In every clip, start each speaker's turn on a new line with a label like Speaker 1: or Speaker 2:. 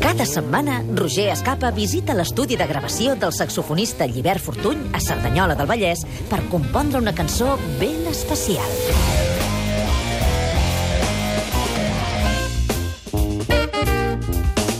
Speaker 1: Cada setmana, Roger Escapa visita l'estudi de gravació del saxofonista Llibert Fortuny a Cerdanyola del Vallès per compondre una cançó ben especial.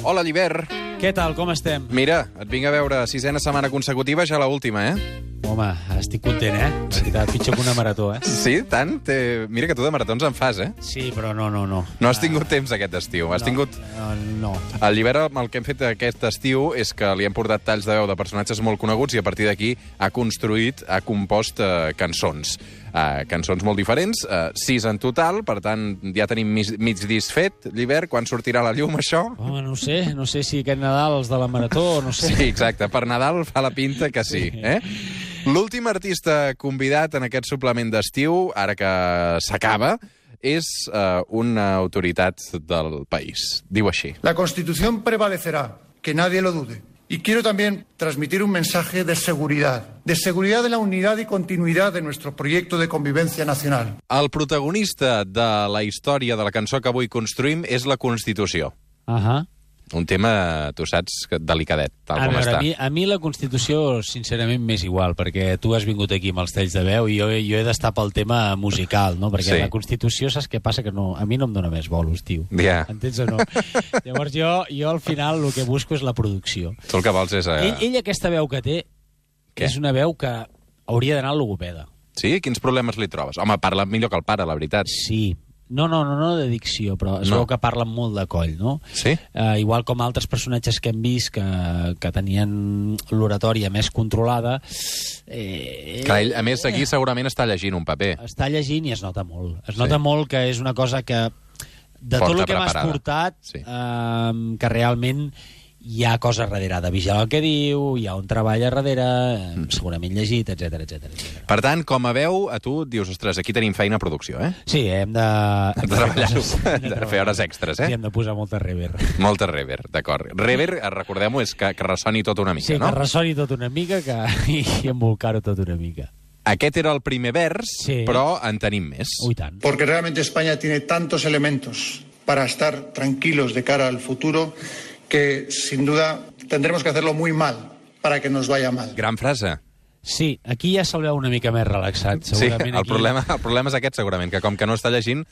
Speaker 2: Hola, Llibert.
Speaker 3: Què tal, com estem?
Speaker 2: Mira, et vinc a veure sisena setmana consecutiva, ja la última, eh?
Speaker 3: Home, estic content, eh? La veritat, pitjor que una marató, eh?
Speaker 2: Sí, tant? Té... Mira que tu de maratons en fas, eh?
Speaker 3: Sí, però no, no, no.
Speaker 2: No has tingut temps aquest estiu. Has
Speaker 3: no,
Speaker 2: tingut...
Speaker 3: No, no.
Speaker 2: El Llibert, el que hem fet aquest estiu és que li hem portat talls de veu de personatges molt coneguts i a partir d'aquí ha construït, ha compost eh, cançons. Eh, cançons molt diferents, eh, sis en total, per tant, ja tenim mig, mig disc fet. Llibert, quan sortirà a la llum, això?
Speaker 3: Home, no ho sé, no sé si aquest Nadal els de la marató, no sé.
Speaker 2: Sí, exacte. Per Nadal fa la pinta que sí. Eh? L'últim artista convidat en aquest suplement d'estiu, ara que s'acaba, és eh, una autoritat del país. Diu així.
Speaker 4: La Constitución prevalecerá, que nadie lo dude. Y quiero también transmitir un mensaje de seguridad, de seguridad de la unidad y continuidad de nuestro proyecto de convivencia nacional.
Speaker 2: El protagonista de la història de la cançó que avui construïm és la Constitució.
Speaker 3: Ahà.
Speaker 2: Un tema, tu saps, que delicadet, tal
Speaker 3: A
Speaker 2: com
Speaker 3: veure,
Speaker 2: està.
Speaker 3: a Ah, mi, a mi la Constitució, sincerament, m'és igual, perquè tu has vingut aquí amb els talls de veu i jo, jo he d'estar pel tema musical, no? Perquè
Speaker 2: Sí.
Speaker 3: la Constitució, saps què passa? Que no, a mi no em dóna més bolos, tio.
Speaker 2: Ja.
Speaker 3: Entens o no? Llavors jo, jo al final el que busco és la producció.
Speaker 2: Tu el que vols és... Eh...
Speaker 3: Ell, ell aquesta veu que té
Speaker 2: Què?
Speaker 3: Què? és una veu que hauria d'anar al logopeda.
Speaker 2: Sí? Quins problemes li trobes? Home, parla millor que el pare, la veritat.
Speaker 3: Sí. No, no, no, no de dicció, però
Speaker 2: No.
Speaker 3: es no. veu que parlen molt de coll, no?
Speaker 2: Sí?
Speaker 3: Eh, igual com altres personatges que hem vist que, que tenien l'oratòria més controlada, eh,
Speaker 2: Clar, ell, a més, aquí segurament està llegint un paper.
Speaker 3: està llegint i es nota molt. Es nota sí. molt que és una cosa que, de
Speaker 2: Forta
Speaker 3: tot el que m'has
Speaker 2: preparada.
Speaker 3: portat,
Speaker 2: Sí.
Speaker 3: sí. eh, que realment hi ha cosa darrere, de vigilar el que diu, hi ha un treball a darrere, eh, segurament llegit, etc etc.
Speaker 2: Per tant, com a veu, a tu dius, ostres, aquí tenim feina a producció, eh?
Speaker 3: Sí, hem de...
Speaker 2: De
Speaker 3: hem fer
Speaker 2: treballar-ho,
Speaker 3: coses, hem
Speaker 2: de fer hores extres, eh?
Speaker 3: Sí, hem de posar molta rever.
Speaker 2: Molta rever, d'acord. Rever, eh, recordem-ho, és que, que ressoni tot una mica,
Speaker 3: Sí,
Speaker 2: no?
Speaker 3: que ressoni tot una mica que... i embolcar-ho tot una mica.
Speaker 2: Aquest era el primer vers,
Speaker 3: Sí.
Speaker 2: però en tenim més.
Speaker 3: Ui, Oh, tant.
Speaker 4: Porque realmente España tiene tantos elementos para estar tranquilos de cara al futuro que sin duda tendremos que hacerlo muy mal para que nos vaya mal.
Speaker 2: Gran frase.
Speaker 3: Sí, aquí ja se'l veu una mica més relaxat,
Speaker 2: Sí, el,
Speaker 3: segurament. aquí...
Speaker 2: problema, el problema és aquest, segurament, que com que no està llegint,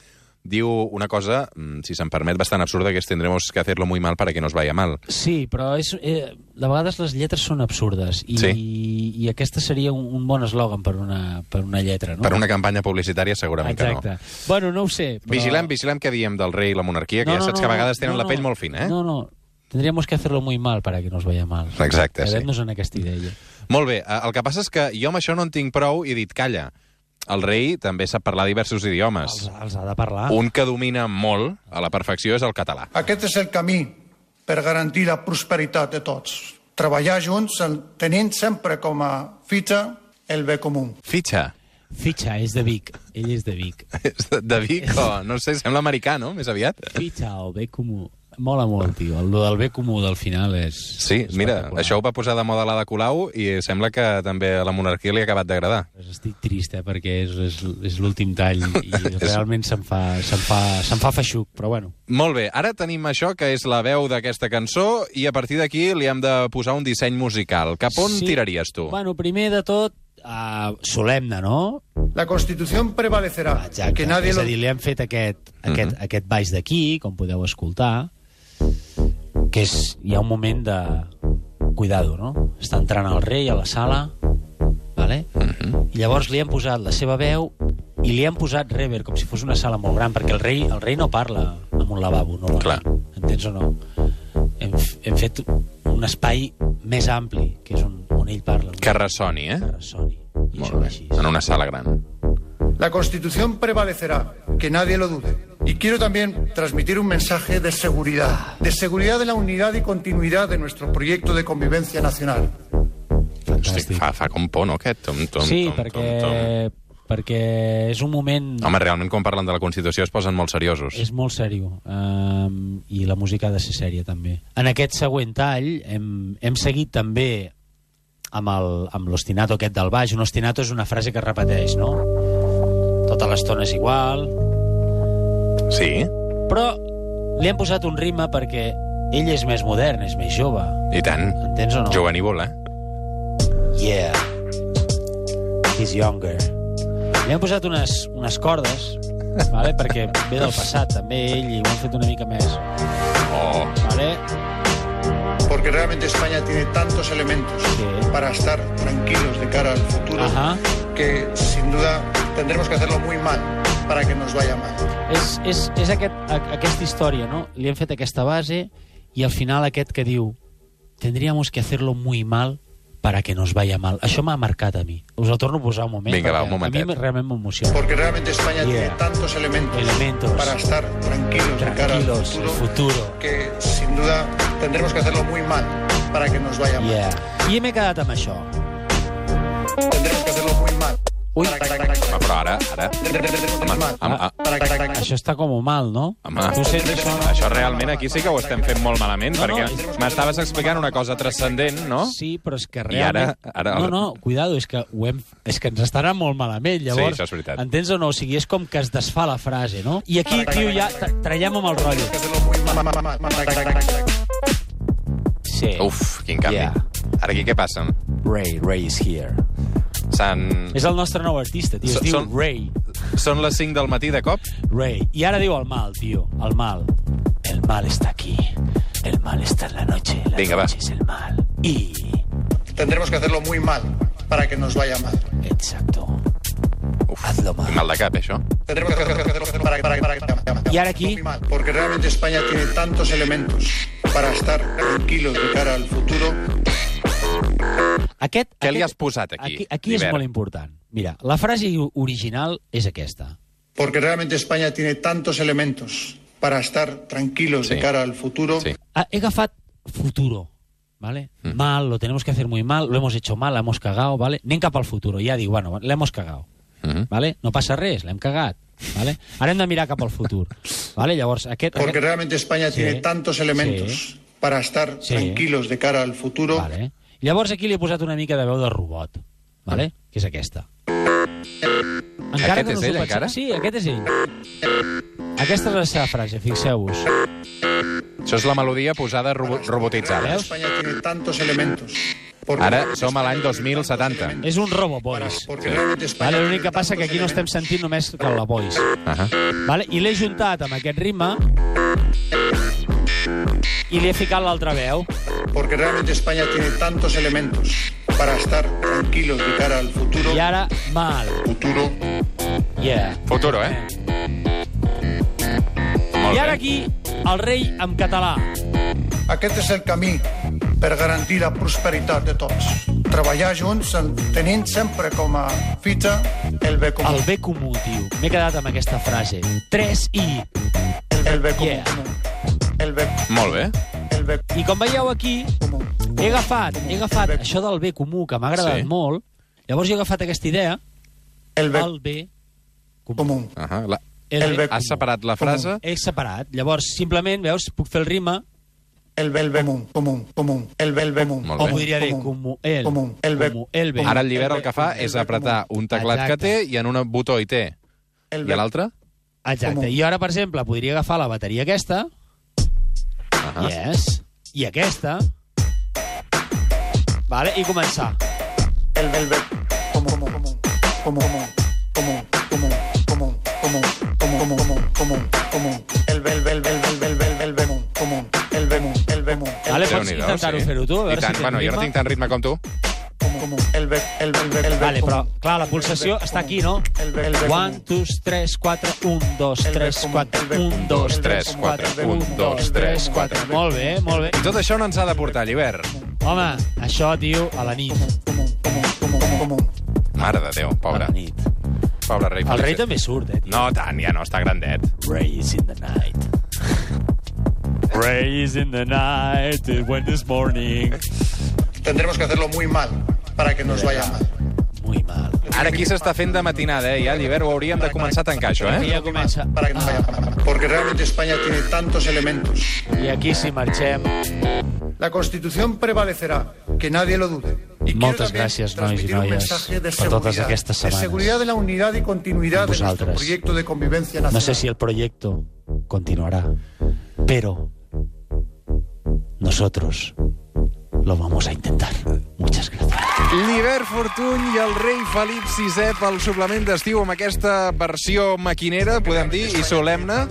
Speaker 2: diu una cosa, mm, si se'n permet, bastant absurda, que es tendremos que hacerlo muy mal para que nos vaya mal.
Speaker 3: Sí, però és, eh, de vegades les lletres són absurdes i,
Speaker 2: Sí.
Speaker 3: i aquesta seria un, un bon eslògan per una, per una lletra, no?
Speaker 2: Per una campanya publicitària, segurament
Speaker 3: Exacte.
Speaker 2: que no.
Speaker 3: Bueno, no ho sé. Però...
Speaker 2: Vigilem, vigilem què diem del rei i la monarquia, que ja saps que a vegades tenen la pell molt fina, eh?
Speaker 3: No, no. Tendríamos que hacerlo muy mal para que nos vaya mal.
Speaker 2: Exacte, sí.
Speaker 3: Quedem-nos en aquesta idea.
Speaker 2: Molt bé, eh, el que passa és que jo amb això no en tinc prou i he dit, calla, el rei també sap parlar diversos idiomes.
Speaker 3: Els, els ha de parlar.
Speaker 2: Un que domina molt a la perfecció és el català.
Speaker 4: Aquest és el camí per garantir la prosperitat de tots. Treballar junts en- tenint sempre com a fita el bé comú.
Speaker 2: Fitxa.
Speaker 3: Fitxa, és de Vic. Ell és de Vic.
Speaker 2: És de- De Vic o, no sé, sembla americà, no? Més aviat.
Speaker 3: Fitxa, el bé comú. Mola molt, tio. El lo del bé comú del final és...
Speaker 2: Sí,
Speaker 3: és
Speaker 2: mira,
Speaker 3: espectacular.
Speaker 2: això ho va posar de moda l'Ada Colau i sembla que també a la monarquia li ha acabat d'agradar.
Speaker 3: Estic trist, eh, perquè és, és, és l'últim tall i realment se'm fa, se'm fa, se'm fa feixuc, però bueno.
Speaker 2: Molt bé, ara tenim això que és la veu d'aquesta cançó i a partir d'aquí li hem de posar un disseny musical. Cap on
Speaker 3: Sí.
Speaker 2: tiraries tu?
Speaker 3: Bueno, primer de tot, uh, solemne, no?
Speaker 4: La Constitución prevalecerá.
Speaker 3: Exacte.
Speaker 4: Que nadie
Speaker 3: és
Speaker 4: lo...
Speaker 3: a dir, li hem fet aquest,
Speaker 2: Mhm.
Speaker 3: aquest, mm -hmm. aquest baix d'aquí, com podeu escoltar, que és, hi ha un moment de... Cuidado, no? Està entrant el rei a la sala, vale? Mm
Speaker 2: Mhm.
Speaker 3: -hmm. i llavors li han posat la seva veu i li han posat rever, com si fos una sala molt gran, perquè el rei, el rei no parla amb un lavabo, no?
Speaker 2: Clar.
Speaker 3: Entens o no? Hem, f- hem fet un espai més ampli, que és on, on ell parla.
Speaker 2: Que ressoni, eh?
Speaker 3: Que ressoni.
Speaker 2: Molt
Speaker 3: I això va
Speaker 2: bé,
Speaker 3: així.
Speaker 2: en una sala gran.
Speaker 4: La Constitución prevalecerá. Que nadie lo dude. Y quiero también transmitir un mensaje de seguridad. De seguridad de la unidad y continuidad de nuestro proyecto de convivencia nacional.
Speaker 2: Hosti,
Speaker 3: Fantàstic.
Speaker 2: fa, fa com por, no, aquest? Tom, tom,
Speaker 3: sí,
Speaker 2: tom,
Speaker 3: perquè,
Speaker 2: Tom,
Speaker 3: perquè és un moment...
Speaker 2: tom. Home, realment, quan parlen de la Constitució es posen molt seriosos.
Speaker 3: És molt sèrio. Um, I la música ha de ser sèria, també. En aquest següent tall hem, hem seguit també amb el- amb l'ostinato aquest del baix. Un ostinato és una frase que es repeteix, no? Tota l'estona és igual.
Speaker 2: Sí?
Speaker 3: Però li hem posat un ritme perquè Ell és més modern, és més jove.
Speaker 2: I tant.
Speaker 3: Entens o no?
Speaker 2: Jovenívol, eh?
Speaker 3: Yeah. He's younger. Li hem posat unes, unes cordes, vale? perquè ve del passat, també ell, i ho han fet una mica més.
Speaker 2: Oh,
Speaker 3: Vale?
Speaker 4: Porque realmente España tiene tantos elementos
Speaker 3: Sí.
Speaker 4: para estar tranquilos de cara al futuro
Speaker 3: Ajá.
Speaker 4: que sin duda tendremos que hacerlo muy mal para que nos vaya mal.
Speaker 3: És, és, és aquest, a, aquesta història, no? Li hem fet aquesta base i al final aquest que diu tendríamos que hacerlo muy mal para que nos vaya mal. Això m'ha marcat a mi. Us el torno a posar un moment.
Speaker 2: Vinga, va,
Speaker 3: perquè
Speaker 2: un momentet.
Speaker 3: A mi realment m'emociona.
Speaker 4: Porque realmente España
Speaker 3: Yeah.
Speaker 4: tiene tantos elementos,
Speaker 3: Elementos.
Speaker 4: para estar tranquilos, de cara al
Speaker 3: Tranquilos, el
Speaker 4: futuro,
Speaker 3: futuro.
Speaker 4: que sin duda tendremos que hacerlo muy mal para que nos vaya mal.
Speaker 3: Yeah. I m'he quedat amb això.
Speaker 4: Tendremos que hacerlo muy mal.
Speaker 3: Uy.
Speaker 4: Para- para- para-
Speaker 2: va, Ah, però ara, ara...
Speaker 4: Tendremos
Speaker 2: Home,
Speaker 4: mal.
Speaker 2: home, ah,
Speaker 4: Para- para- para-
Speaker 3: Això està com mal, no?
Speaker 2: Home.
Speaker 3: Tu sents això, no?
Speaker 2: això realment aquí sí que ho estem fent molt malament,
Speaker 3: No, no,
Speaker 2: perquè
Speaker 3: és-
Speaker 2: m'estaves explicant una cosa transcendent, no?
Speaker 3: Sí, però és que
Speaker 2: I ara-
Speaker 3: realment...
Speaker 2: ara-
Speaker 3: No, no, cuidado, és que, ho hem... és que ens estarà molt malament, llavors.
Speaker 2: Sí, això és veritat.
Speaker 3: Entens o no? O sigui, és com que es desfà la frase, no? I aquí, tio, ja tra- trallem amb el rotllo.
Speaker 4: hacerlo muy mal, mal, mal, mal, para- para- para-
Speaker 3: Sí.
Speaker 2: Uf, quin canvi.
Speaker 3: Yeah.
Speaker 2: Ara aquí què passa?
Speaker 3: Ray, Ray is here.
Speaker 2: Sant...
Speaker 3: És el nostre nou artista, tio.
Speaker 2: So-
Speaker 3: Es diu
Speaker 2: són-
Speaker 3: Ray.
Speaker 2: Són les 5 del matí de cop?
Speaker 3: Ray. I ara diu el mal, tio. El mal. El mal està aquí. El mal està en la noche. La
Speaker 2: Vinga, va.
Speaker 3: noche és el mal. I...
Speaker 4: Tendremos que hacerlo muy mal para que nos vaya mal.
Speaker 3: Exacto.
Speaker 2: Uf,
Speaker 3: Hazlo
Speaker 2: quin
Speaker 3: mal.
Speaker 2: mal de cap, eh, això.
Speaker 4: Tendremos que hacerlo para, para, para, para-
Speaker 3: Y ahora aquí.
Speaker 4: muy mal, Porque realmente España tiene tantos elementos para estar tranquilos de cara al futuro.
Speaker 3: Aquest,
Speaker 2: Què
Speaker 3: aquest,
Speaker 2: li has posat aquí,
Speaker 3: Aquí, aquí és
Speaker 2: Llibert?
Speaker 3: molt important. Mira, la frase original és aquesta.
Speaker 4: Porque realmente España tiene tantos elementos para estar tranquilos
Speaker 2: Sí.
Speaker 4: de cara al futuro.
Speaker 2: Sí.
Speaker 3: Ah, He agafat futuro, ¿vale?
Speaker 2: Mm.
Speaker 3: Mal, lo tenemos que hacer muy mal, lo hemos hecho mal, la hemos cagado, ¿vale? Anem cap al futuro, ja dic, bueno, la hemos cagado,
Speaker 2: Mhm.
Speaker 3: ¿vale? No passa res, l'hem cagat, ¿vale? Ara hem de mirar cap al futur, ¿vale? Llavors, aquest...
Speaker 4: Porque
Speaker 3: aquest
Speaker 4: realmente España
Speaker 3: Sí.
Speaker 4: tiene tantos elementos para estar
Speaker 3: Sí.
Speaker 4: tranquilos de cara al futuro.
Speaker 3: vale. Llavors aquí li he posat una mica de veu de robot, ¿vale? Que és aquesta.
Speaker 2: Mm. Aquest
Speaker 3: que
Speaker 2: és
Speaker 3: us ho
Speaker 2: ell,
Speaker 3: penseu-
Speaker 2: encara?
Speaker 3: Sí, aquest és ell. Aquesta és la seva frase, fixeu-vos.
Speaker 2: Això és la melodia posada robo robotitzada.
Speaker 3: Veus?
Speaker 4: España tiene tantos elementos. Porque-
Speaker 2: Ara som a l'any 2070.
Speaker 3: És un roboboys.
Speaker 4: Porque realmente España
Speaker 3: Vale, l'únic
Speaker 4: tiene
Speaker 3: que passa que
Speaker 4: tantos
Speaker 3: aquí no estem
Speaker 4: elementos.
Speaker 3: sentint només que la voice.
Speaker 2: Ahà.
Speaker 3: Vale? I l'he juntat amb aquest ritme i li he ficat l'altra veu.
Speaker 4: Porque realmente España tiene tantos elementos para estar tranquilos de cara al futuro.
Speaker 3: I ara, mal.
Speaker 4: Futuro.
Speaker 3: Yeah.
Speaker 2: Futuro, eh? Molt
Speaker 3: I
Speaker 2: bé.
Speaker 3: ara aquí, el rei en català.
Speaker 4: Aquest és el camí per garantir la prosperitat de tots. Treballar junts, en- tenint sempre com a fita el bé comú.
Speaker 3: El bé comú, tio. M'he quedat amb aquesta frase. 3 i.
Speaker 4: El, el bé comú.
Speaker 3: Yeah.
Speaker 4: El bé,
Speaker 2: Molt bé.
Speaker 4: el bé
Speaker 3: I com veieu aquí,
Speaker 4: comú.
Speaker 3: he agafat, he agafat això del bé comú, que m'ha agradat
Speaker 2: Sí.
Speaker 3: molt. Llavors jo he agafat aquesta idea,
Speaker 4: El bé
Speaker 3: el bé comú.
Speaker 4: comú.
Speaker 2: Ahà, la...
Speaker 4: El bé
Speaker 2: Has separat la frase?
Speaker 3: He separat. Llavors, simplement, veus, puc fer el ritme,
Speaker 4: El bé, el bé comú. Comú, comú. El bé, el bé comú.
Speaker 2: Molt
Speaker 3: o
Speaker 2: bé.
Speaker 3: podria dir comú, el,
Speaker 4: Comú. El bé.
Speaker 3: comú, el bé.
Speaker 2: Ara el llibert el que fa és apretar un teclat que té i en un botó hi té.
Speaker 4: El
Speaker 2: I a
Speaker 4: bé,
Speaker 2: l'altre?
Speaker 3: Exacte.
Speaker 4: Comú.
Speaker 3: I ara, per exemple, podria agafar la bateria aquesta.
Speaker 2: Ahà.
Speaker 3: Yes. I aquesta. Vale, i començar.
Speaker 4: el bé, el bé comú. Comú, comú. Comú, comú. Comú, comú. Comú, comú. Comú, comú, comú, comú, comú. El bé, el bé, el bé, el bé, el bé, el bé, el bé comú. Comú. El bé comú. El bé comú. El
Speaker 3: Vale,
Speaker 4: bé
Speaker 3: pots
Speaker 2: Déu-n'hi-do,
Speaker 3: intentar-ho
Speaker 2: sí.
Speaker 3: fer-ho tu, a
Speaker 2: I
Speaker 3: veure
Speaker 2: tant,
Speaker 3: si tens
Speaker 2: bueno, jo no
Speaker 3: ritme.
Speaker 2: tinc tant ritme com tu.
Speaker 4: comú. El bé, el bé, el bé, el bé
Speaker 3: Vale, però,
Speaker 4: comú.
Speaker 3: clar, la pulsació està aquí, no?
Speaker 4: El bé, el bé
Speaker 3: 1,
Speaker 4: comú.
Speaker 3: 2, 3, 4, 1, 2,
Speaker 4: El bé
Speaker 3: 3,
Speaker 4: comú,
Speaker 3: 4,
Speaker 4: el bé
Speaker 3: 1,
Speaker 4: comú,
Speaker 3: 2,
Speaker 4: el bé
Speaker 3: 3,
Speaker 4: comú,
Speaker 3: 4,
Speaker 4: el bé
Speaker 3: 1,
Speaker 4: comú,
Speaker 3: 2,
Speaker 4: el bé
Speaker 3: 3,
Speaker 4: comú,
Speaker 3: 4.
Speaker 4: el bé
Speaker 3: Molt bé, molt bé.
Speaker 2: I tot això no ens ha de portar a l'hivern.
Speaker 3: Home, això, tio, a la nit.
Speaker 4: Comú, comú, comú, comú, comú.
Speaker 2: Mare de Déu,
Speaker 3: A
Speaker 2: pobre.
Speaker 3: la nit.
Speaker 2: Pobre rei.
Speaker 3: El rei
Speaker 2: Felip.
Speaker 3: també surt, eh, tio.
Speaker 2: No tant, ja no, està grandet.
Speaker 3: Ray is in the night. Ray is in the night, it went this morning.
Speaker 4: Tendremos que hacerlo muy mal para que nos vaya mal.
Speaker 3: Muy mal.
Speaker 2: Ara aquí s'està fent de matinada, eh? Ja, l'hivern, ho hauríem de començar a tancar, això,
Speaker 3: I
Speaker 2: eh?
Speaker 3: ja comença...
Speaker 4: Para que nos vaya mal. Porque realmente España tiene tantos elementos.
Speaker 3: I aquí si marxem...
Speaker 4: La Constitución prevalecerá, que nadie lo dude. Y quiero
Speaker 3: Moltes
Speaker 4: también
Speaker 3: gràcies, nois i
Speaker 4: transmitir un
Speaker 3: noies,
Speaker 4: mensaje de
Speaker 3: per totes
Speaker 4: seguridad,
Speaker 3: aquestes
Speaker 4: de
Speaker 3: setmanes.
Speaker 4: seguridad de la unidad y continuidad de nuestro
Speaker 3: Vosaltres.
Speaker 4: proyecto de convivencia nacional.
Speaker 3: No sé si el proyecto continuará, pero Nosotros lo vamos a intentar. Muchas gracias.
Speaker 2: L'Hivert Fortuny i el rei Felip VI pel suplement d'estiu amb aquesta versió maquinera, podem dir, i solemne.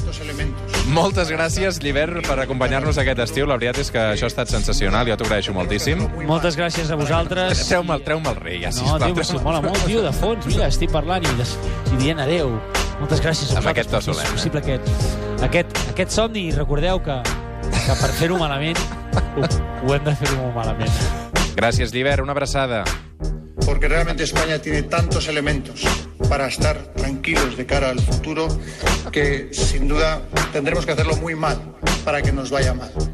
Speaker 2: Moltes gràcies, Llibert, per acompanyar-nos aquest estiu. La veritat és que això ha estat sensacional, jo t'ho agraeixo moltíssimo.
Speaker 3: Moltes gràcies a vosaltres.
Speaker 2: Treu-me'l treu el rei, ja,
Speaker 3: No,
Speaker 2: sisplau.
Speaker 3: tio, però si mola molt, tio, de fons. Mira, estic parlant i, des... i dient adeu. Moltes gràcies a
Speaker 2: Amb aquest to
Speaker 3: perquè
Speaker 2: solemne.
Speaker 3: és possible aquest, aquest, aquest somni. I recordeu que, que per fer-ho malament, ho, ho hem de fer-ho molt malament.
Speaker 2: Gràcies, Llibert, una abraçada.
Speaker 4: Porque realmente España tiene tantos elementos para estar tranquilos de cara al futuro que sin duda tendremos que hacerlo muy mal para que nos vaya mal.